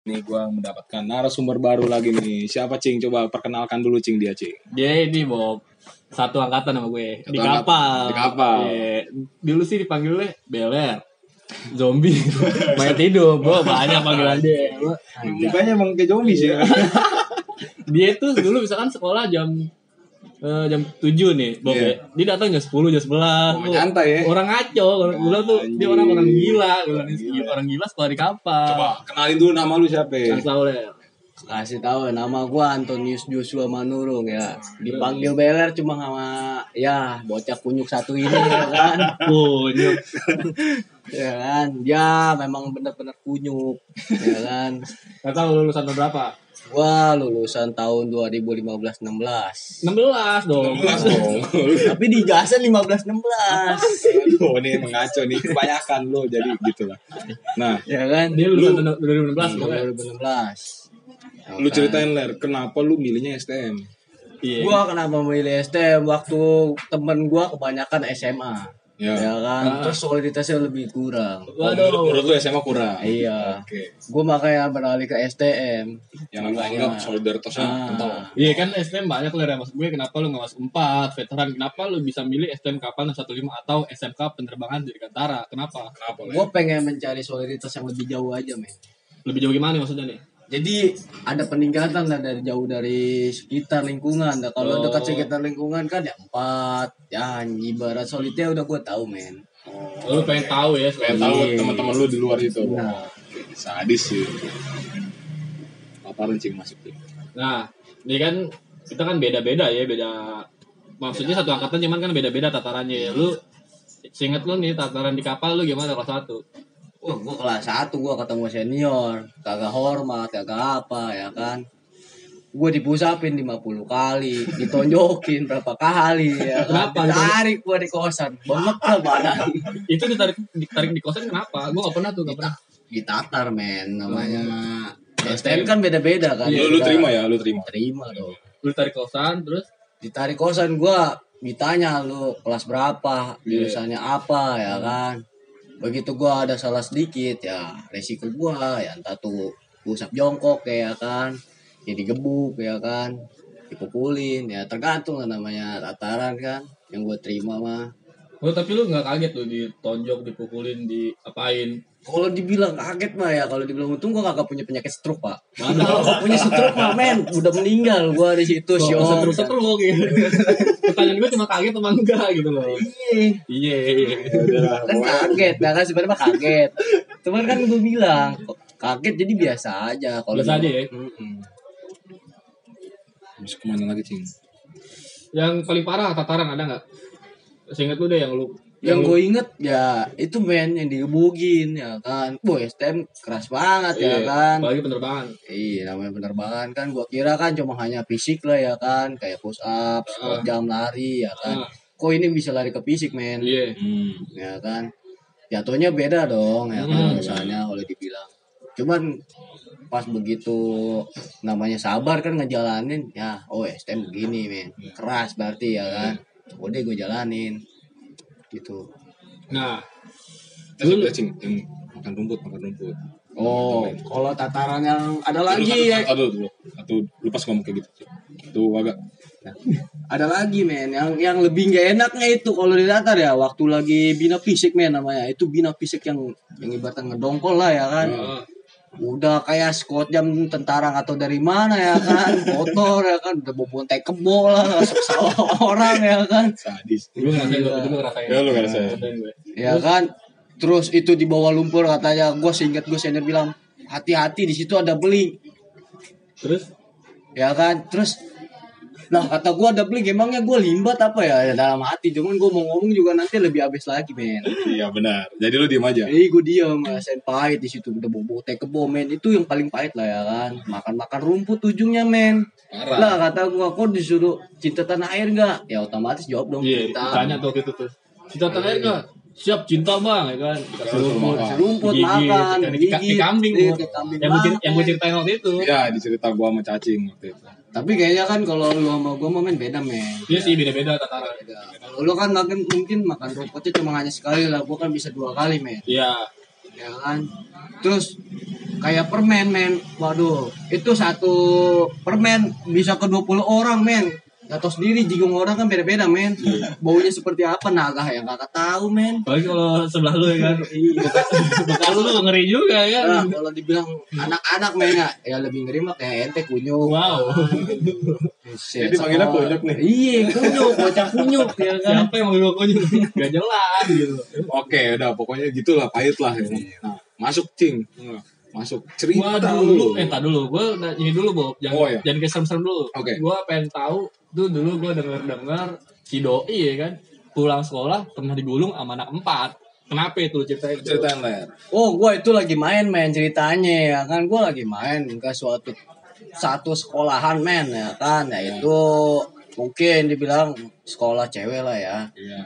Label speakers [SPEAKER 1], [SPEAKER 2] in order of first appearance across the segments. [SPEAKER 1] Nih gua mendapatkan narasumber baru lagi nih. Siapa Cing? Coba perkenalkan dulu Cing dia Cing.
[SPEAKER 2] Dia ini Bob satu angkatan sama gue
[SPEAKER 1] Satu
[SPEAKER 2] di
[SPEAKER 1] angkatan.
[SPEAKER 2] kapal.
[SPEAKER 1] Di kapal.
[SPEAKER 2] Iya. Dulu sih dipanggilnya Beler. Zombie. Mayat hidup. Gue banyak panggilan dia. Gua-
[SPEAKER 1] Mukanya emang kayak zombie sih. ya.
[SPEAKER 2] Dia tuh dulu misalkan sekolah jam eh, jam 7 nih, Bob.
[SPEAKER 1] Iya.
[SPEAKER 2] ya. Dia datang jam 10, jam 11.
[SPEAKER 1] Oh,
[SPEAKER 2] Tuh,
[SPEAKER 1] nyantai ya.
[SPEAKER 2] Orang ngaco, orang gila tuh dia
[SPEAKER 1] Anjing.
[SPEAKER 2] orang orang gila, Gua bilang,
[SPEAKER 1] Orang gila.
[SPEAKER 2] orang gila sekolah di kapal.
[SPEAKER 1] Coba Ah, kenalin dulu nama lu siapa?
[SPEAKER 2] Jangan Sauler.
[SPEAKER 3] Kasih tahu ya, nama gua Antonius Joshua Manurung ya. Dipanggil Beler cuma sama ya bocah kunyuk satu ini ya kan.
[SPEAKER 2] Punyuk.
[SPEAKER 3] Ya kan. Dia memang benar-benar kunyuk ya kan.
[SPEAKER 2] Gak tau lulusan tahun berapa?
[SPEAKER 3] Gua lulusan tahun 2015-16.
[SPEAKER 2] 16 dong.
[SPEAKER 1] 16 dong.
[SPEAKER 3] Tapi di jasa 15-16.
[SPEAKER 1] Oh, ini mengaco nih kebanyakan lo jadi gitulah. Nah,
[SPEAKER 3] Ya kan.
[SPEAKER 2] Dia lulusan tahun 2016
[SPEAKER 1] Iya.
[SPEAKER 2] pokoknya.
[SPEAKER 3] 2016.
[SPEAKER 1] lu ceritain ler kenapa lu milihnya STM?
[SPEAKER 2] Iya.
[SPEAKER 3] Gua kenapa milih STM waktu temen gua kebanyakan SMA.
[SPEAKER 1] Ya.
[SPEAKER 3] Ya kan. Terus soliditasnya lebih kurang.
[SPEAKER 1] Menurut,
[SPEAKER 2] Waduh.
[SPEAKER 1] menurut lu SMA kurang.
[SPEAKER 3] Iya.
[SPEAKER 1] Oke.
[SPEAKER 3] Gue makanya beralih ke STM.
[SPEAKER 1] Yang lu anggap solidaritasnya
[SPEAKER 3] Ah.
[SPEAKER 1] kental.
[SPEAKER 2] Iya kan STM banyak lah mas gue kenapa lu nggak masuk 4 veteran kenapa lu bisa milih STM kapan 15 atau SMK penerbangan Dirgantara kenapa
[SPEAKER 1] Kenapa
[SPEAKER 3] Gue pengen mencari solidaritas yang lebih jauh aja, men.
[SPEAKER 2] lebih jauh gimana nih maksudnya nih
[SPEAKER 3] Jadi ada peningkatan lah dari jauh dari sekitar lingkungan. Nah,
[SPEAKER 2] Oh.
[SPEAKER 3] kalau dekat sekitar lingkungan kan ya empat. Ya ibarat solidnya udah gue tahu, men.
[SPEAKER 2] lu pengen tahu ya
[SPEAKER 1] Pengen
[SPEAKER 2] soalnya.
[SPEAKER 1] tahu
[SPEAKER 3] Iya.
[SPEAKER 1] teman-teman lu di luar itu.
[SPEAKER 3] Nah.
[SPEAKER 1] Sadis sih. Paparan cing masuk Cing.
[SPEAKER 2] nah ini kan kita kan beda-beda ya beda maksudnya satu angkatan cuman kan beda-beda tatarannya ya lu seinget lu nih tataran di kapal lu gimana kelas satu
[SPEAKER 3] Wah, gue kelas satu, gue ketemu senior, kagak hormat, kagak apa, ya kan. Gue dipusapin 50 kali, ditonjokin berapa kali, ya kan.
[SPEAKER 1] gitu?
[SPEAKER 2] Kenapa?
[SPEAKER 3] Ditarik gue di kosan, bemekel badan.
[SPEAKER 2] itu ditarik ditarik di kosan kenapa gue gak pernah tuh gak pernah
[SPEAKER 3] ditatar men namanya STM Iya. kan beda-beda kan
[SPEAKER 1] Lu, lu terima ya, lu terima.
[SPEAKER 3] terima dong
[SPEAKER 2] lu ditarik kosan terus
[SPEAKER 3] ditarik kosan gua ditanya lu kelas berapa
[SPEAKER 1] Iya.
[SPEAKER 3] jurusannya apa ya kan begitu gua ada salah sedikit ya resiko gua ya entah tuh usap jongkok ya kan jadi gebuk ya kan dipukulin ya tergantung lah namanya tataran kan yang gua terima mah
[SPEAKER 2] Oh, tapi lu gak kaget tuh ditonjok, dipukulin, diapain.
[SPEAKER 3] Kalau dibilang kaget mah ya, kalau dibilang untung gua kagak punya penyakit stroke, Pak. Kalau gak punya stroke mah men, udah meninggal gua di situ
[SPEAKER 2] Kok
[SPEAKER 3] syok.
[SPEAKER 2] seteru-seteru gitu. Pertanyaan gue cuma kaget sama enggak gitu loh.
[SPEAKER 3] Iya,
[SPEAKER 2] Iya.
[SPEAKER 3] Kan kaget, nah kan sebenarnya mah kaget. Cuman kan gua bilang kaget jadi biasa aja kalau
[SPEAKER 2] Biasa aja ya?
[SPEAKER 3] Mm-mm.
[SPEAKER 1] Masuk kemana lagi cing?
[SPEAKER 2] Yang paling parah tataran ada nggak? Seingat lu deh yang lu.
[SPEAKER 3] Yang
[SPEAKER 2] lu-
[SPEAKER 3] gue inget ya itu men yang digebugin ya kan. Boy, STM keras banget
[SPEAKER 2] iya,
[SPEAKER 3] ya kan.
[SPEAKER 2] Apalagi penerbangan.
[SPEAKER 3] Iya namanya penerbangan kan gua kira kan cuma hanya fisik lah ya kan kayak push up, squat jam lari ya kan.
[SPEAKER 2] Ah.
[SPEAKER 3] Kok ini bisa lari ke fisik men?
[SPEAKER 2] Iya.
[SPEAKER 1] Hmm.
[SPEAKER 3] ya kan jatuhnya beda dong ya kan misalnya kalau dibilang cuman pas begitu namanya sabar kan ngejalanin ya oh STM begini men keras berarti ya kan udah gue jalanin gitu
[SPEAKER 2] Nah,
[SPEAKER 1] Terus ada, cing yang makan rumput, makan rumput.
[SPEAKER 3] oh kalau tataran yang ada lagi ya
[SPEAKER 1] Aduh, dulu. Satu lu pas ngomong kayak gitu. Cing. Tuh agak.
[SPEAKER 3] ada lagi men yang yang lebih nggak enaknya itu kalau di datar ya waktu lagi bina fisik men namanya itu bina fisik yang yang ibaratnya ngedongkol lah ya kan
[SPEAKER 2] eh,
[SPEAKER 3] udah kayak skot jam tentara atau dari mana ya kan kotor ya kan udah bobon teh kebo lah masuk sawah orang ya kan
[SPEAKER 1] Sadis.
[SPEAKER 2] gue ngerasain gue, gue ngerasain.
[SPEAKER 1] Ya lu gak ada saya.
[SPEAKER 2] Ngerasain gue.
[SPEAKER 3] ya kan terus itu di bawah lumpur katanya gue seingat gue senior bilang hati-hati di situ ada beling
[SPEAKER 2] Terus
[SPEAKER 3] ya kan terus lah kata gue ada beling emangnya gue limbat apa ya Ya, dalam hati cuman gue mau ngomong juga nanti lebih abis lagi men
[SPEAKER 1] Iya benar. Jadi lu diem aja.
[SPEAKER 3] Eh gue diam ngerasain pahit di situ udah bobo teh kebo men itu yang paling pahit lah ya kan makan makan rumput ujungnya men
[SPEAKER 1] Parah.
[SPEAKER 3] lah kata gua kok disuruh cinta tanah air nggak ya otomatis jawab dong
[SPEAKER 2] iya,
[SPEAKER 3] cinta
[SPEAKER 2] tanya tuh gitu tuh. Cinta terakhir nggak? Siap cinta bang, ya kan? Dikasih
[SPEAKER 1] Terus
[SPEAKER 2] rumput,
[SPEAKER 1] makan.
[SPEAKER 3] rumput
[SPEAKER 2] digigit,
[SPEAKER 3] makan
[SPEAKER 2] ya kan? Di, di,
[SPEAKER 3] digigit,
[SPEAKER 2] kambing,
[SPEAKER 3] iya,
[SPEAKER 2] gua.
[SPEAKER 3] kayak kambing
[SPEAKER 2] yang gue yang gue
[SPEAKER 3] banget.
[SPEAKER 2] ceritain waktu itu.
[SPEAKER 1] Iya, di cerita gua sama cacing waktu itu.
[SPEAKER 3] tapi kayaknya kan kalau lu sama gua mah men beda men
[SPEAKER 2] Iya sih beda-beda tataran.
[SPEAKER 3] Beda. Kalau lu kan makin mungkin makan rumputnya cuma hanya sekali lah gua kan bisa dua kali men
[SPEAKER 2] Iya.
[SPEAKER 3] ya kan terus kayak permen men waduh itu satu permen bisa ke 20 orang men Gak tau sendiri jigung orang kan beda-beda men Baunya seperti apa naga ya kakak tahu men
[SPEAKER 2] Apalagi kalau sebelah lu ya kan. Bekal lu ngeri juga
[SPEAKER 1] Iya, Ah.
[SPEAKER 2] ya.
[SPEAKER 3] Nah, kalau dibilang anak-anak men ya, ya lebih ngeri mah kayak ente kunyuk
[SPEAKER 2] Wow.
[SPEAKER 1] Jadi panggilnya kunyuk nih.
[SPEAKER 3] Iya kunyuk, bocah kunyuk
[SPEAKER 1] Iya
[SPEAKER 3] ya kan
[SPEAKER 2] Siapa yang mau aku Gak jelas gitu.
[SPEAKER 1] Oke, udah pokoknya gitulah pahit lah. Ya.
[SPEAKER 3] Iya.
[SPEAKER 1] Nah, masuk cing, masuk cerita
[SPEAKER 2] Gua
[SPEAKER 1] dulu.
[SPEAKER 2] dulu, eh tak dulu, gua na- ini dulu Bob, jangan
[SPEAKER 1] Oh, iya.
[SPEAKER 2] jangan kayak serem-serem dulu.
[SPEAKER 1] Oke.
[SPEAKER 2] Gua pengen tahu tuh dulu gua denger-dengar si doi ya kan pulang sekolah pernah digulung sama anak empat. Kenapa itu ceritain? Bob?
[SPEAKER 1] Ceritain ler.
[SPEAKER 3] Oh, gua itu lagi main main ceritanya ya kan. Gua lagi main ke suatu satu sekolahan men ya kan. Ya itu mungkin dibilang sekolah cewek lah ya.
[SPEAKER 1] Iya.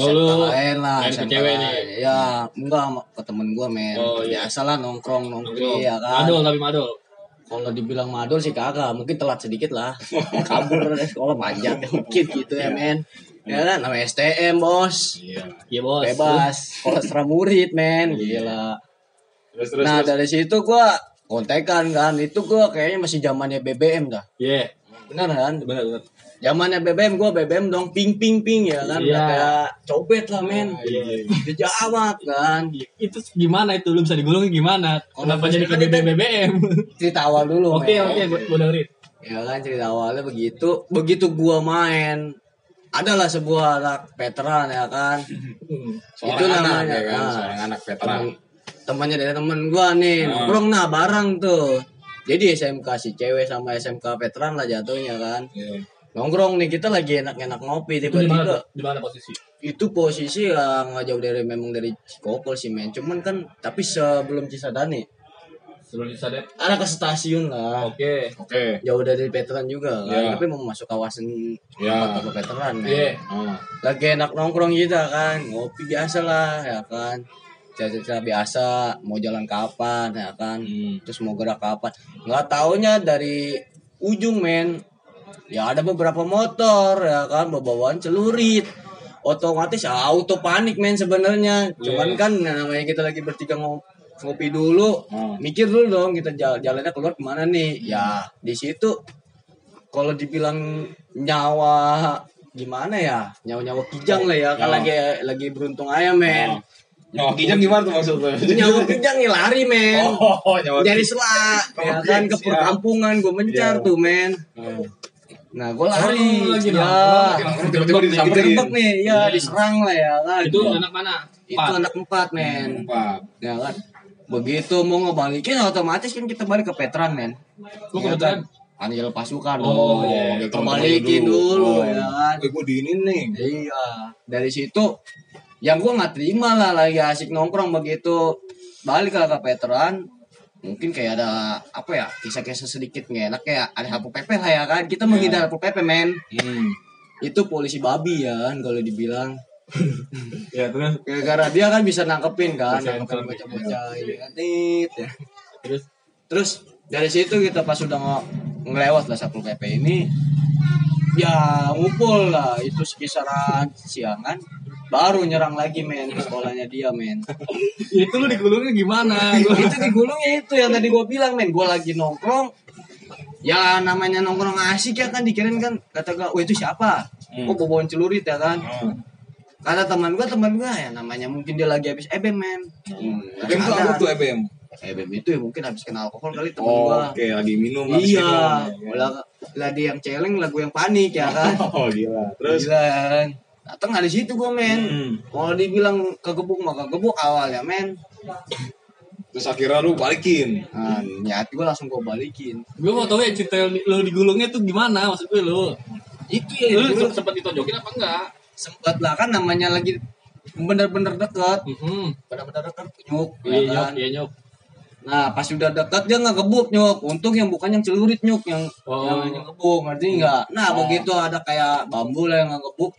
[SPEAKER 2] Oh, lu
[SPEAKER 3] SMKN lah,
[SPEAKER 2] main ke cewek nih?
[SPEAKER 3] Ya, enggak sama- ke temen gua men.
[SPEAKER 2] Oh, iya.
[SPEAKER 3] Biasalah nongkrong nongkrong ya kan.
[SPEAKER 2] Madol tapi Iya madol.
[SPEAKER 3] Kalau dibilang madul sih kagak, mungkin telat sedikit lah. Kabur dari sekolah panjang mungkin gitu ya men. Ya kan, nama STM bos.
[SPEAKER 1] Iya.
[SPEAKER 2] Iya bos.
[SPEAKER 3] Bebas, sekolah seram murid men. Gila.
[SPEAKER 1] Terus terus.
[SPEAKER 3] nah
[SPEAKER 1] terus.
[SPEAKER 3] dari situ gua kontekan kan itu gua kayaknya masih zamannya BBM dah
[SPEAKER 2] Iya,
[SPEAKER 3] benar kan
[SPEAKER 2] benar-benar.
[SPEAKER 3] zamannya BBM gua BBM dong ping ping ping ya kan
[SPEAKER 2] Iya.
[SPEAKER 3] Udah kayak copet lah men
[SPEAKER 2] Iya.
[SPEAKER 3] Gejak amat kan
[SPEAKER 2] Itu gimana itu lu bisa digulung gimana?
[SPEAKER 1] Oh,
[SPEAKER 2] Kenapa
[SPEAKER 1] kan
[SPEAKER 2] jadi ke BBM?
[SPEAKER 3] cerita awal dulu
[SPEAKER 2] Oke
[SPEAKER 3] men
[SPEAKER 2] oke, gua gua dengerin.
[SPEAKER 3] ya kan cerita awalnya begitu begitu gua main adalah sebuah anak veteran ya kan
[SPEAKER 2] Hmm.
[SPEAKER 1] Seorang
[SPEAKER 3] itu
[SPEAKER 1] anak
[SPEAKER 3] namanya,
[SPEAKER 1] ya kan,
[SPEAKER 3] ah.
[SPEAKER 1] seorang anak Ah. veteran.
[SPEAKER 3] teman temannya dari temen gua nih nongkrong nah bareng tuh jadi SMK si cewek sama SMK veteran lah jatuhnya kan
[SPEAKER 1] Iya.
[SPEAKER 3] nongkrong nih kita lagi enak-enak ngopi
[SPEAKER 2] Itu di mana?
[SPEAKER 3] tiba-tiba
[SPEAKER 2] Di mana posisi?
[SPEAKER 3] itu posisi ya nggak jauh dari memang dari Cikokol sih men cuman kan tapi sebelum Cisadane
[SPEAKER 2] Sebelum ya? disadap.
[SPEAKER 3] ada ke stasiun lah
[SPEAKER 2] Oke. Ya.
[SPEAKER 1] Oke.
[SPEAKER 3] jauh dari veteran juga
[SPEAKER 1] Iya.
[SPEAKER 3] kan tapi mau masuk kawasan
[SPEAKER 1] Iya.
[SPEAKER 3] tempat veteran men.
[SPEAKER 2] Iya.
[SPEAKER 1] Ah.
[SPEAKER 3] lagi enak nongkrong gitu kan ngopi biasa lah ya kan cerita biasa mau jalan kapan ya kan
[SPEAKER 1] Hmm.
[SPEAKER 3] terus mau gerak kapan nggak taunya dari ujung men ya ada beberapa motor ya kan bawaan celurit otomatis auto panik men sebenarnya cuman
[SPEAKER 1] Iya.
[SPEAKER 3] kan namanya kita lagi bertiga ngop- ngopi dulu
[SPEAKER 1] Hmm.
[SPEAKER 3] mikir dulu dong kita jal- jalannya keluar kemana nih ya di situ kalau dibilang nyawa gimana ya nyawa-nyawa kijang lah ya
[SPEAKER 2] Oh.
[SPEAKER 3] kan
[SPEAKER 1] Ya.
[SPEAKER 3] lagi lagi beruntung ayam men
[SPEAKER 1] Nyawa kijang gimana tuh maksudnya?
[SPEAKER 3] nyawa kijang nih lari men
[SPEAKER 1] Oh, nyawa
[SPEAKER 3] dari selak
[SPEAKER 2] Oh,
[SPEAKER 3] ya kan ke
[SPEAKER 1] Siap.
[SPEAKER 3] perkampungan gue mencar
[SPEAKER 1] Iya.
[SPEAKER 3] tuh men
[SPEAKER 1] Oh.
[SPEAKER 3] nah gue lari
[SPEAKER 2] Oh, lagi nongkrong,
[SPEAKER 3] ya
[SPEAKER 2] lagi
[SPEAKER 1] nongkrong, tiba-tiba disamperin.
[SPEAKER 3] Digerebek nih ya diserang lah ya kan
[SPEAKER 2] Iya. Itu anak mana?
[SPEAKER 3] itu
[SPEAKER 2] Empat. Hmm.
[SPEAKER 3] anak empat men
[SPEAKER 1] Empat.
[SPEAKER 3] ya kan begitu mau ngebalikin otomatis kan kita balik ke Petran men
[SPEAKER 2] Lu ke
[SPEAKER 3] Ya
[SPEAKER 2] Petran?
[SPEAKER 3] kan Anjel pasukan
[SPEAKER 2] Oh,
[SPEAKER 3] dong
[SPEAKER 2] iya,
[SPEAKER 3] kita balikin dulu ya kan
[SPEAKER 1] Oh. Gue diinin nih.
[SPEAKER 3] Iya, dari situ yang gua nggak terima lah lagi asik nongkrong begitu balik lah ke veteran mungkin kayak ada apa ya kisah-kisah sedikit nggak enak kayak ada sapu pepe lah ya kan kita menghindar sapu pepe men
[SPEAKER 1] Hmm.
[SPEAKER 3] itu polisi babi ya kan kalau dibilang
[SPEAKER 2] Ya terus
[SPEAKER 3] gara-gara dia kan bisa nangkepin kan
[SPEAKER 2] Bisa nangkepin,
[SPEAKER 3] nangkepin bocah-bocah ya kan, tit, ya.
[SPEAKER 2] terus
[SPEAKER 3] Terus dari situ kita pas sudah nge- ngelewat lah Satpol PP ini ya ngumpul lah itu sekisaran siangan baru nyerang lagi men ke sekolahnya dia men
[SPEAKER 2] itu lu digulungnya gimana?
[SPEAKER 1] Iya.
[SPEAKER 2] Lu-
[SPEAKER 3] itu digulungnya itu yang tadi gua bilang men gua lagi nongkrong ya namanya nongkrong asik ya kan dikirain kan kata gua wah itu siapa
[SPEAKER 1] Hmm.
[SPEAKER 3] kok bobon celurit ya kan
[SPEAKER 1] Hmm.
[SPEAKER 3] kata teman gua teman gua ya namanya mungkin dia lagi habis ebem men
[SPEAKER 1] Bem tuh apa tuh EBM?
[SPEAKER 3] ebem itu ya mungkin habis kena alkohol kali teman
[SPEAKER 1] Oh,
[SPEAKER 3] gua
[SPEAKER 1] oke lagi minum habis
[SPEAKER 3] Iya,
[SPEAKER 1] minum.
[SPEAKER 3] lah, lah dia yang celeng, lah gue yang panik ya kan.
[SPEAKER 1] Oh, gila. Terus
[SPEAKER 3] Gila kan. Datang ada situ gue men.
[SPEAKER 1] Hmm.
[SPEAKER 3] Kalau dibilang kegebuk mah kegebuk awal ya men.
[SPEAKER 1] terus akhirnya lu balikin.
[SPEAKER 3] Nah, niat gue langsung gue balikin.
[SPEAKER 2] Gue mau tau ya cerita yang lu digulungnya tuh gimana maksud gue lu.
[SPEAKER 3] Itu ya,
[SPEAKER 2] Lu
[SPEAKER 3] dulu
[SPEAKER 2] se- sempet ditonjokin apa enggak?
[SPEAKER 3] sempat lah kan namanya lagi bener-bener deket.
[SPEAKER 2] Mhm.
[SPEAKER 3] Bener-bener deket nyuk.
[SPEAKER 2] Iya
[SPEAKER 3] ya
[SPEAKER 2] nyok,
[SPEAKER 3] kan.
[SPEAKER 2] iya nyok.
[SPEAKER 3] Nah, pas sudah dekat dia nggak gebuk nyuk. Untung yang bukan yang celurit nyuk yang
[SPEAKER 2] Oh.
[SPEAKER 3] yang, yang gebuk, ngerti nggak? Nah, begitu ada kayak bambu lah yang nggak gebuk,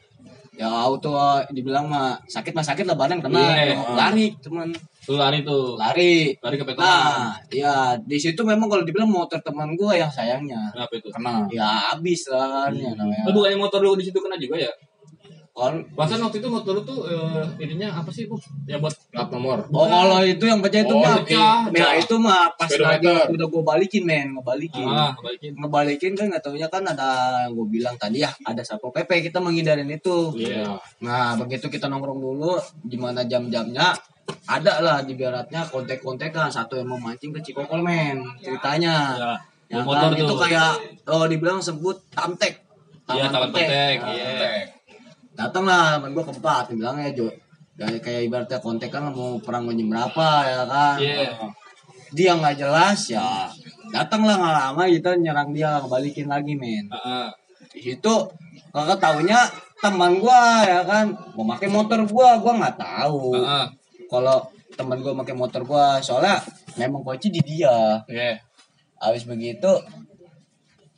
[SPEAKER 3] ya auto dibilang mah sakit mah sakit lah badan kena Oh,
[SPEAKER 2] Iya.
[SPEAKER 3] lari teman
[SPEAKER 2] Lu lari tuh.
[SPEAKER 3] lari
[SPEAKER 2] Lari ke petolan.
[SPEAKER 3] nah ya di situ memang kalau dibilang motor teman gue yang sayangnya
[SPEAKER 2] Kenapa Nah, itu?
[SPEAKER 1] Nah, Kena.
[SPEAKER 3] ya habis lah kan ya namanya
[SPEAKER 2] Lu bukannya motor lu di situ kena juga ya?
[SPEAKER 3] Kalau-
[SPEAKER 2] Bahkan waktu itu menurut lu tuh eh, ininya apa sih bu? Ya buat
[SPEAKER 1] plat nomor
[SPEAKER 3] Oh kalau itu yang pecah itu
[SPEAKER 1] Oh,
[SPEAKER 3] mah
[SPEAKER 2] pecah,
[SPEAKER 3] Nah
[SPEAKER 2] pecah.
[SPEAKER 3] itu mah pas lagi
[SPEAKER 1] Speedometer.
[SPEAKER 3] udah gue balikin men ngebalikin
[SPEAKER 2] ah balikin.
[SPEAKER 3] ngebalikin kan nggak taunya kan ada yang gue bilang tadi ya ada satpol pp kita menghindarin itu
[SPEAKER 1] iya
[SPEAKER 3] nah begitu kita nongkrong dulu gimana jam-jamnya ada lah di baratnya kontek-kontekan satu yang memancing ke Cikokol men ceritanya
[SPEAKER 2] Ya, bawa
[SPEAKER 3] ya,
[SPEAKER 2] motor
[SPEAKER 3] kan? itu
[SPEAKER 2] tuh.
[SPEAKER 3] kayak oh dibilang sebut tamtek
[SPEAKER 2] Iya tangan
[SPEAKER 3] Taman
[SPEAKER 2] petek. Iya.
[SPEAKER 1] Eh,
[SPEAKER 3] datanglah temen gue ke empat dia bilangnya Jo kayak kayak ibaratnya kontek kan mau perang mau jam berapa ya kan
[SPEAKER 2] Iya.
[SPEAKER 3] dia nggak jelas ya datanglah nggak lama kita nyerang dia balikin lagi men
[SPEAKER 1] eh,
[SPEAKER 2] Heeh.
[SPEAKER 3] di situ kakak taunya teman gua ya kan mau pakai motor gua gua nggak tahu
[SPEAKER 2] Heeh.
[SPEAKER 3] kalau teman gua pakai motor gua soalnya memang kunci di dia
[SPEAKER 2] Iya.
[SPEAKER 3] habis begitu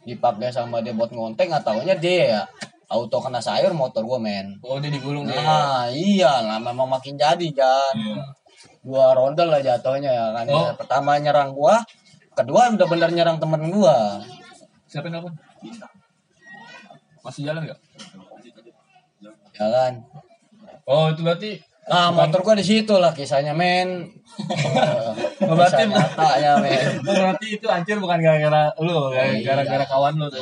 [SPEAKER 3] dipakai sama dia buat ngonteng nggak taunya dia ya auto kena sayur motor gua men
[SPEAKER 2] Oh dia digulung dia.
[SPEAKER 3] Nah, iya lah memang makin jadi kan. Dua ronde lah jatuhnya ya kan.
[SPEAKER 2] Iya. Oh.
[SPEAKER 3] Pertama nyerang gua, kedua udah bener nyerang temen gua.
[SPEAKER 2] Siapa yang nelfon? Masih jalan nggak?
[SPEAKER 3] Ya kan.
[SPEAKER 2] Oh itu berarti
[SPEAKER 3] Nah, motor gua di situ lah kisahnya, men. Eh,
[SPEAKER 2] Berarti-
[SPEAKER 3] Kisah nyatanya, men.
[SPEAKER 2] Oh, berarti itu anjir bukan gara-gara lu, gara-gara Oh, iya. kawan lu tuh.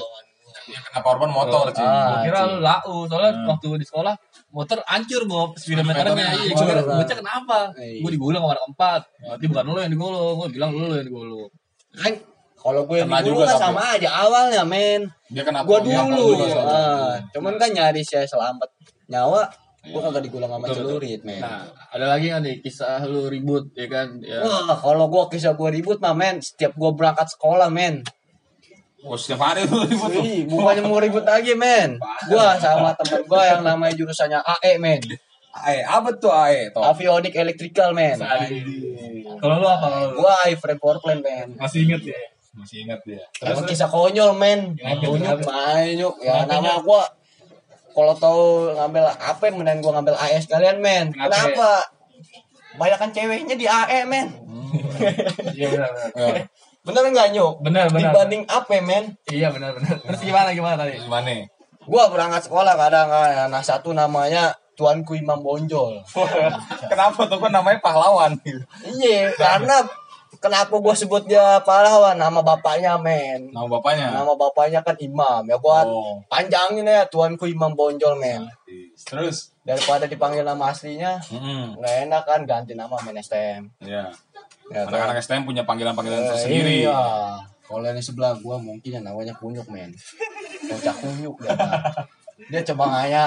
[SPEAKER 1] yang kena korban motor sih
[SPEAKER 3] Ah,
[SPEAKER 2] Gua kira
[SPEAKER 3] cing.
[SPEAKER 2] lu lau, soalnya waktu di sekolah motor hancur gua Ah. speedometernya.
[SPEAKER 1] Speedometernya
[SPEAKER 2] Iya,
[SPEAKER 1] hancur.
[SPEAKER 2] gua kira, bocah kenapa?
[SPEAKER 3] Iya.
[SPEAKER 2] Gua digulung sama anak empat. Berarti bukan lu yang digulung, gua bilang lu yang digulung.
[SPEAKER 3] Kan kalau gue
[SPEAKER 1] Kena
[SPEAKER 3] dulu
[SPEAKER 1] juga
[SPEAKER 3] kan
[SPEAKER 1] tapi.
[SPEAKER 3] sama aja awalnya, men.
[SPEAKER 1] dia kena
[SPEAKER 3] Gua
[SPEAKER 1] korban
[SPEAKER 3] dulu.
[SPEAKER 1] juga soalnya.
[SPEAKER 3] Ah, cuman kan nyari saya selamat nyawa, gua kagak digulang sama
[SPEAKER 2] Betul, betul.
[SPEAKER 3] celurit, men.
[SPEAKER 2] Nah, ada lagi nggak nih kisah lu ribut ya kan? Ya.
[SPEAKER 3] Wah, kalau gua kisah gua ribut mah, men. Setiap gua berangkat sekolah, men.
[SPEAKER 1] oh setiap hari lu ribut lu.
[SPEAKER 3] Ih, bukannya mau ribut lagi, men. Gua sama temen gua yang namanya jurusannya AE, men.
[SPEAKER 1] ae apa tuh ae toh
[SPEAKER 3] Avionic Electrical, men.
[SPEAKER 2] Nah, Kalau lu apa? Kalau lu?
[SPEAKER 3] Gua iframe powerplane, men.
[SPEAKER 2] Masih inget ya?
[SPEAKER 1] masih ingat dia
[SPEAKER 3] Emang kisah konyol, men.
[SPEAKER 2] Iya,
[SPEAKER 3] Konyol, konyol. Ya,
[SPEAKER 2] kan-
[SPEAKER 3] nama gua kalau tahu ngambil apa, mendingan gua ngambil AE sekalian, men.
[SPEAKER 2] Kenapa?
[SPEAKER 3] Kenapa? Banyakan ceweknya di AE, men.
[SPEAKER 2] Iya benar benar.
[SPEAKER 1] Ya,
[SPEAKER 3] Bener nggak, Nyok?
[SPEAKER 2] Bener, bener.
[SPEAKER 3] Dibanding apa, men?
[SPEAKER 2] Iya benar benar. Terus gimana gimana tadi?
[SPEAKER 1] gimana
[SPEAKER 3] Gua berangkat sekolah kadang kan. Nah, satu namanya Tuanku Imam Bonjol.
[SPEAKER 1] kenapa tuh kan namanya pahlawan
[SPEAKER 3] Iya, karena kenapa gua sebut dia pahlawan nama bapaknya, men.
[SPEAKER 1] nama bapaknya
[SPEAKER 2] Iya.
[SPEAKER 3] Nama bapaknya kan Imam. Ya gua
[SPEAKER 1] Oh.
[SPEAKER 3] panjangin ya tuanku Imam Bonjol, men.
[SPEAKER 1] terus
[SPEAKER 3] Daripada dipanggil nama aslinya,
[SPEAKER 1] Mm-mm.
[SPEAKER 3] nggak enak kan ganti nama men STM.
[SPEAKER 1] ya
[SPEAKER 3] Ya, kan?
[SPEAKER 1] anak-anak STM punya panggilan-panggilan
[SPEAKER 3] Eh,
[SPEAKER 1] tersendiri
[SPEAKER 3] Iya. Kalau yang di sebelah gua mungkin yang namanya kunyuk, men. Bocah kunyuk ya. dia. Bang. dia coba ngaya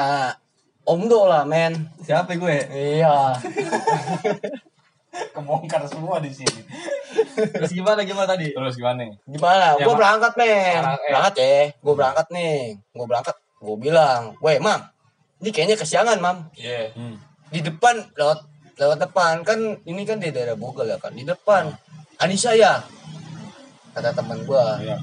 [SPEAKER 3] Omdo lah, men.
[SPEAKER 2] Siapa gue?
[SPEAKER 3] Iya.
[SPEAKER 1] kebongkar semua di sini
[SPEAKER 2] Terus gimana gimana tadi?
[SPEAKER 1] terus gimana
[SPEAKER 3] Gimana?
[SPEAKER 2] Ya,
[SPEAKER 3] gue
[SPEAKER 2] Mak.
[SPEAKER 3] berangkat, men.
[SPEAKER 2] Berangkat, eh.
[SPEAKER 3] Berangkat ya. Gue berangkat nih. Gue berangkat. Gue bilang, weh, mam. Ini kayaknya kesiangan, mam.
[SPEAKER 2] Iya.
[SPEAKER 1] Hmm.
[SPEAKER 3] Di depan, lewat lewat depan. Kan ini kan di daerah Bogor ya kan. Di depan. Anissa ya? Kata teman gue.
[SPEAKER 1] Iya.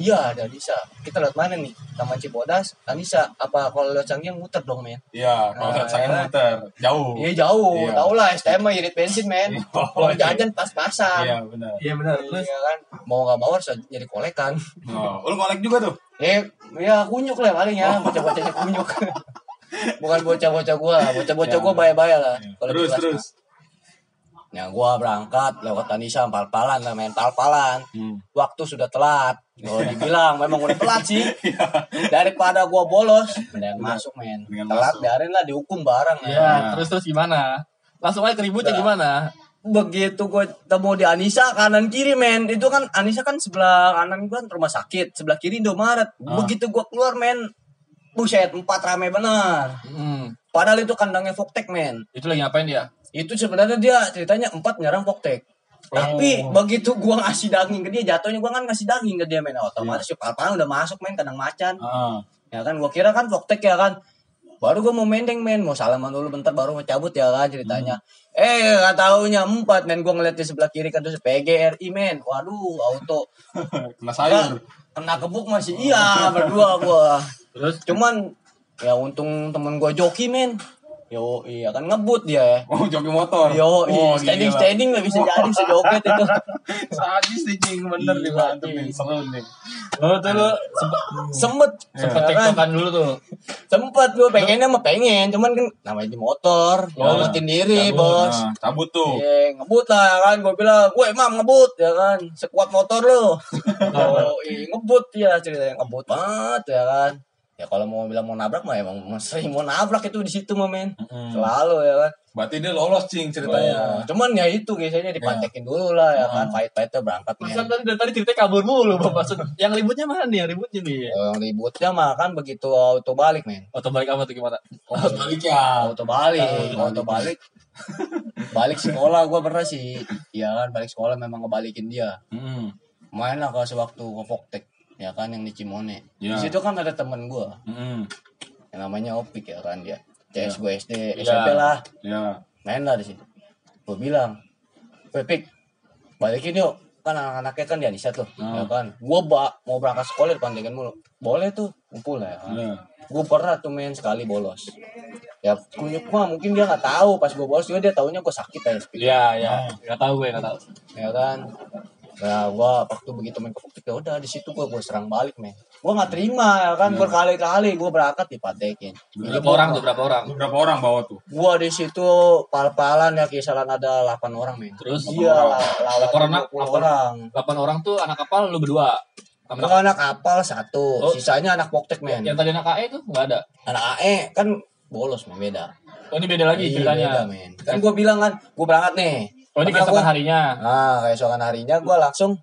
[SPEAKER 3] Iya, ada Anissa. Kita lewat mana nih? Taman Cibodas, Anissa. Apa kalau lewat Canggiang muter dong, men?
[SPEAKER 1] Iya, kalau
[SPEAKER 3] Nah,
[SPEAKER 1] saya saya
[SPEAKER 3] iya.
[SPEAKER 1] muter jauh.
[SPEAKER 3] Iya, jauh.
[SPEAKER 1] Iya.
[SPEAKER 3] Tau lah, STM mah irit bensin, men.
[SPEAKER 1] Iya.
[SPEAKER 3] Kalau jajan pas-pasan.
[SPEAKER 1] Iya, benar.
[SPEAKER 2] Iya benar. Terus
[SPEAKER 3] Iya kan? Mau nggak mau harus jadi kolekan.
[SPEAKER 1] Oh, lu kolek juga tuh.
[SPEAKER 3] Eh, ya kunyuk lah paling ya, bocah-bocahnya kunyuk. Bukan bocah-bocah gua, bocah-bocah gua baya-baya lah. Kalau di
[SPEAKER 1] Iya, Terus
[SPEAKER 3] kelas
[SPEAKER 1] terus.
[SPEAKER 3] mah. Ya gua berangkat lewat Tanisa pal-palan lah main pal-palan.
[SPEAKER 1] Hmm.
[SPEAKER 3] Waktu sudah telat. Kalau dibilang memang udah telat sih. Daripada gua bolos, mendingan masuk men.
[SPEAKER 1] Iya. Mendingan
[SPEAKER 3] Telat
[SPEAKER 1] masuk.
[SPEAKER 3] biarin lah dihukum bareng. ya.
[SPEAKER 2] ya, terus terus gimana? Langsung aja keributnya
[SPEAKER 3] Udah.
[SPEAKER 2] gimana?
[SPEAKER 3] Begitu gua temu di Anissa kanan kiri men. Itu kan Anissa kan sebelah kanan gua kan rumah sakit, sebelah kiri Indomaret. Begitu gua keluar men. Buset, empat rame benar.
[SPEAKER 2] Hmm.
[SPEAKER 3] Padahal itu kandangnya Voktek men.
[SPEAKER 2] Itu lagi ngapain dia?
[SPEAKER 3] Itu sebenarnya dia ceritanya empat nyerang Voktek. Tapi begitu gua ngasih daging ke dia, jatuhnya gua kan ngasih daging ke dia men. Otomatis yeah. udah masuk men kandang macan.
[SPEAKER 1] Ah.
[SPEAKER 3] Ya kan gua kira kan Voktek ya kan. Baru gua mau mendeng men, mau salaman dulu bentar baru mau cabut ya kan ceritanya. Eh gak taunya empat men gua ngeliat di sebelah kiri kan terus PGRI men. Waduh auto.
[SPEAKER 1] Kena sayur.
[SPEAKER 3] Ah. Kena kebuk masih iya berdua gua.
[SPEAKER 2] Terus
[SPEAKER 3] Cuman ya untung temen gua joki men. Yo iya kan ngebut dia ya.
[SPEAKER 1] Oh, joki motor.
[SPEAKER 3] Yo, iya.
[SPEAKER 1] oh,
[SPEAKER 3] standing standing nggak bisa jadi sejoget itu.
[SPEAKER 1] Sadis nih, Cing. Bener nih,
[SPEAKER 2] Iya,
[SPEAKER 3] Gila,
[SPEAKER 1] mantep nih.
[SPEAKER 3] Cing.
[SPEAKER 1] Seru nih.
[SPEAKER 3] Oh tuh lu sempet sempet
[SPEAKER 2] Sempet
[SPEAKER 3] ya kan?
[SPEAKER 2] tiktokan dulu tuh.
[SPEAKER 3] sempet gue pengennya mah pengen cuman kan namanya di motor ngelewatin diri
[SPEAKER 2] Cabut.
[SPEAKER 3] Iya, bos
[SPEAKER 1] Nah, cabut tuh.
[SPEAKER 3] Iya, ngebut lah ya kan gue bilang weh mam ngebut ya kan sekuat motor lo oh iya, ngebut ya ceritanya ngebut banget ya kan ya kalau mau bilang mau nabrak mah emang sering mau nabrak itu di situ mah men selalu ya kan
[SPEAKER 1] Hmm. Berarti dia lolos cing
[SPEAKER 3] Oh,
[SPEAKER 1] ceritanya.
[SPEAKER 3] cuman ya itu biasanya dipantekin dulu lah ya kan pahit pahitnya berangkat men.
[SPEAKER 2] Masa tadi dari tadi ceritanya kabur mulu, Bang. Maksud yang ributnya mana nih? Yang ributnya nih.
[SPEAKER 3] Eh, ributnya mah kan begitu auto balik men
[SPEAKER 2] Auto balik apa tuh gimana?
[SPEAKER 3] auto balik ya auto balik auto balik balik sekolah gue pernah sih ya kan balik sekolah memang ngebalikin dia
[SPEAKER 1] Mm.
[SPEAKER 3] main lah kalau sewaktu ke Voktek ya kan yang di Cimone
[SPEAKER 1] Iya.
[SPEAKER 3] di situ kan ada temen gua
[SPEAKER 1] Mm.
[SPEAKER 3] yang namanya Opik ya Iya. kan dia CS gua SD SMP lah
[SPEAKER 1] Ya.
[SPEAKER 3] main lah di situ gua bilang Pepik balikin yuk kan anak-anaknya kan di Anisat loh ya kan gua ba- mau berangkat sekolah di Pantingan mulu boleh tuh kumpul lah ya kan
[SPEAKER 1] Ya.
[SPEAKER 3] gue pernah tuh main sekali bolos ya kunyuk mah mungkin dia nggak tahu pas gue bolos juga dia taunya gue sakit aja Pik.
[SPEAKER 2] Iya, iya. Enggak tahu gue, enggak tahu.
[SPEAKER 3] ya kan nah gua waktu begitu main kepopik ya udah di situ gua gua serang balik men gua nggak terima ya kan berkali-kali gua berangkat dipatekin
[SPEAKER 2] Iya. Berapa orang tuh? Berapa orang?
[SPEAKER 1] Lu berapa orang bawa tuh?
[SPEAKER 3] gua di situ pal-palan ya kisaran ada 8 orang men
[SPEAKER 2] Terus
[SPEAKER 3] iya lah lawan
[SPEAKER 2] Laporan,
[SPEAKER 3] 20
[SPEAKER 2] laporan.
[SPEAKER 3] orang
[SPEAKER 2] 8 orang tuh anak kapal lu berdua. Sama
[SPEAKER 3] Enggak anak kapal satu,
[SPEAKER 2] Oh. Iya.
[SPEAKER 3] sisanya anak poktek men.
[SPEAKER 2] kan? yang tadi anak AE tuh enggak ada.
[SPEAKER 3] Anak AE kan bolos men beda.
[SPEAKER 2] Oh, ini beda lagi
[SPEAKER 3] Iya, beda
[SPEAKER 2] ceritanya.
[SPEAKER 3] men. Kan gua bilang kan, gua berangkat nih.
[SPEAKER 2] Oh, ini
[SPEAKER 3] Karena
[SPEAKER 2] keesokan
[SPEAKER 3] gua-
[SPEAKER 2] harinya.
[SPEAKER 3] Ah, keesokan harinya gua langsung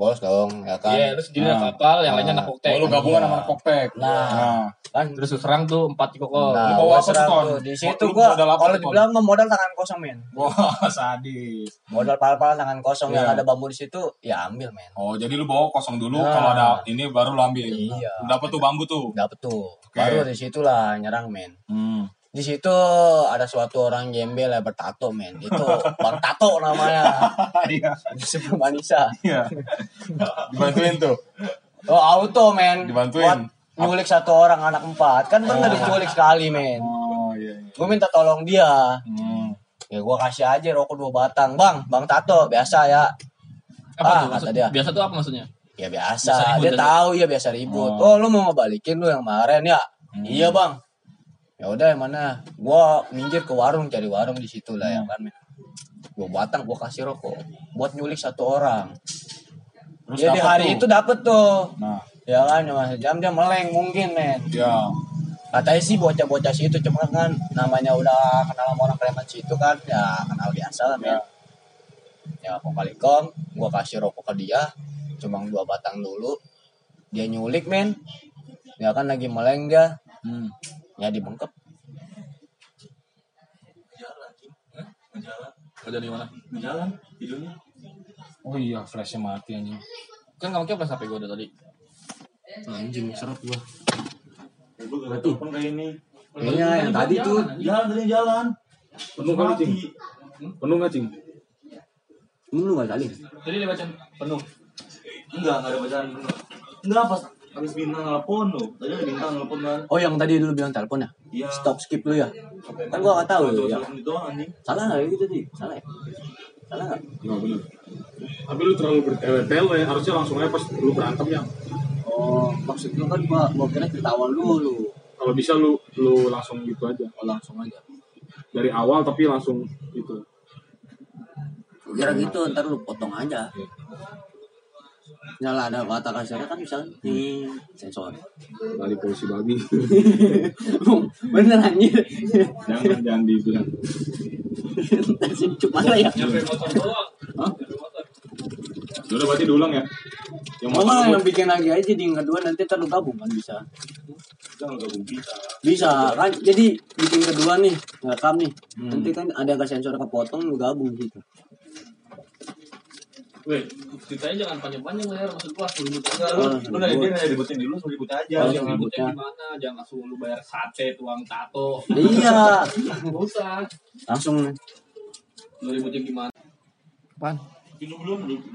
[SPEAKER 3] bolos dong ya kan.
[SPEAKER 2] Iya, terus jadi anak kapal, yang lainnya anak koktek.
[SPEAKER 1] Oh, lu gabungan
[SPEAKER 3] Iya.
[SPEAKER 1] sama anak kopek.
[SPEAKER 3] Nah. Kan
[SPEAKER 2] Terus lu serang tuh empat koko.
[SPEAKER 3] Nah,
[SPEAKER 1] Lu bawa
[SPEAKER 3] gua
[SPEAKER 1] apa tuh,
[SPEAKER 3] serang
[SPEAKER 1] Ton?
[SPEAKER 3] tuh. Di situ
[SPEAKER 1] Lu
[SPEAKER 3] gua
[SPEAKER 1] modal apa tuh,
[SPEAKER 3] kalau
[SPEAKER 1] Ton?
[SPEAKER 3] dibilang mah modal tangan kosong, men.
[SPEAKER 1] Wah, sadis.
[SPEAKER 3] Modal pala-pala tangan kosong yang
[SPEAKER 1] Iya.
[SPEAKER 3] ada bambu di situ, ya ambil, men.
[SPEAKER 1] Oh, jadi lu bawa kosong dulu
[SPEAKER 3] Nah.
[SPEAKER 1] kalau ada ini baru lu ambil.
[SPEAKER 3] Iya.
[SPEAKER 1] Lu dapet tuh bambu tuh.
[SPEAKER 3] Dapet tuh.
[SPEAKER 1] Oke.
[SPEAKER 3] Baru di situlah nyerang, men.
[SPEAKER 1] Hmm.
[SPEAKER 3] Di situ ada suatu orang gembel ya bertato, men. Itu Bang Tato namanya.
[SPEAKER 1] Iya.
[SPEAKER 3] Sebelum Anissa.
[SPEAKER 1] Iya. Dibantuin tuh.
[SPEAKER 3] Oh, auto, men.
[SPEAKER 1] Dibantuin.
[SPEAKER 3] Buat nyulik satu orang anak empat. Kan pernah diculik sekali, men.
[SPEAKER 1] Oh, iya. iya.
[SPEAKER 3] Gue minta tolong dia.
[SPEAKER 1] Hmm.
[SPEAKER 3] Ya gue kasih aja rokok dua batang. Bang, Bang Tato, biasa ya.
[SPEAKER 2] Apa
[SPEAKER 3] Ah,
[SPEAKER 2] tuh maksud,
[SPEAKER 3] kata dia.
[SPEAKER 2] Biasa tuh apa maksudnya?
[SPEAKER 3] Ya
[SPEAKER 2] Biasa
[SPEAKER 3] biasa,
[SPEAKER 2] ribut,
[SPEAKER 3] dia
[SPEAKER 2] biasa.
[SPEAKER 3] tahu ya biasa ribut. Oh, lu mau ngebalikin lu yang kemarin ya? Iya, Bang. Ya udah yang mana? Gua minggir ke warung cari warung di situ lah ya kan. Gua batang gua kasih rokok buat nyulik satu orang.
[SPEAKER 1] Terus
[SPEAKER 3] Jadi
[SPEAKER 1] dapet
[SPEAKER 3] hari
[SPEAKER 1] tuh.
[SPEAKER 3] itu dapet tuh.
[SPEAKER 1] Nah,
[SPEAKER 3] Ya kan, cuma sejam dia meleng mungkin, men.
[SPEAKER 1] iya.
[SPEAKER 3] Katanya sih bocah-bocah situ cuma kan namanya udah kenal sama orang preman situ kan, ya kenal biasa lah, men. Ya, kong kali kong, gua kasih rokok ke dia, cuma dua batang dulu. Dia nyulik, men. Ya kan lagi meleng dia,
[SPEAKER 1] Hmm.
[SPEAKER 3] ya dibengkep.
[SPEAKER 2] Udah di mana?
[SPEAKER 1] Oh iya, flashnya mati anjing.
[SPEAKER 2] Kan kamu kira sampai gue udah tadi.
[SPEAKER 3] Anjing, serap gua.
[SPEAKER 4] Telepon kayak ini.
[SPEAKER 3] Kayaknya yang
[SPEAKER 5] Iya,
[SPEAKER 3] tadi tuh
[SPEAKER 4] Jalan tadi jalan.
[SPEAKER 6] Penuh kali, Cing. Penuh nggak, Cing?
[SPEAKER 5] Ini lu gak kali?
[SPEAKER 2] Jadi dia baca penuh.
[SPEAKER 4] Enggak, enggak ada bacaan bener. Enggak pas habis bintang telepon lo. Tadi ada bintang telepon kan.
[SPEAKER 5] Oh yang tadi lu bilang telepon ya?
[SPEAKER 4] Iya.
[SPEAKER 5] Stop skip lu ya? Kan gua gak
[SPEAKER 6] Iya.
[SPEAKER 5] tahu
[SPEAKER 4] Coba
[SPEAKER 5] ya.
[SPEAKER 4] telepon itu doang, anjing.
[SPEAKER 5] Salah gak gitu sih? Salah ya? Salah gak?
[SPEAKER 6] Nggak bener. Tapi lu terlalu bertele-tele, ya. harusnya langsung aja pas lu berantem ya.
[SPEAKER 5] Oh maksud lu kan gua gua kira cerita awal dulu.
[SPEAKER 6] Kalau bisa lu lu langsung gitu aja.
[SPEAKER 1] Oh,
[SPEAKER 6] langsung aja. Dari awal tapi langsung gitu.
[SPEAKER 5] Gua Kira gitu ntar lu potong aja. Nyala ada kata kasarnya kan bisa nih sensor.
[SPEAKER 6] Dari polisi babi.
[SPEAKER 5] Bener anjir.
[SPEAKER 6] jangan jangan dibilang.
[SPEAKER 5] Ntar sih cuma lah ya.
[SPEAKER 6] Udah berarti diulang ya. Yang mau
[SPEAKER 5] Mama
[SPEAKER 6] tersebut.
[SPEAKER 5] yang bikin lagi aja jadi yang kedua nanti ntar lu gabung kan bisa.
[SPEAKER 4] Kita enggak gabung kita.
[SPEAKER 5] Bisa kan jadi bikin kedua nih rekam nih. Nanti kan ada ke sensor kepotong lu gabung gitu.
[SPEAKER 2] Weh, ceritanya jangan panjang-panjang lah ya. Maksud gua sebelum
[SPEAKER 4] Enggak, lu lu dari dia nggak ributin dulu, langsung ribut aja.
[SPEAKER 6] iya.
[SPEAKER 5] Oh,
[SPEAKER 2] Jangan ributnya
[SPEAKER 5] ributnya.
[SPEAKER 2] gimana, jangan langsung lu bayar sate, tuang tato.
[SPEAKER 5] Iya.
[SPEAKER 2] Nggak usah.
[SPEAKER 5] Langsung
[SPEAKER 2] Lu ributnya gimana?
[SPEAKER 4] Minum belum, belum.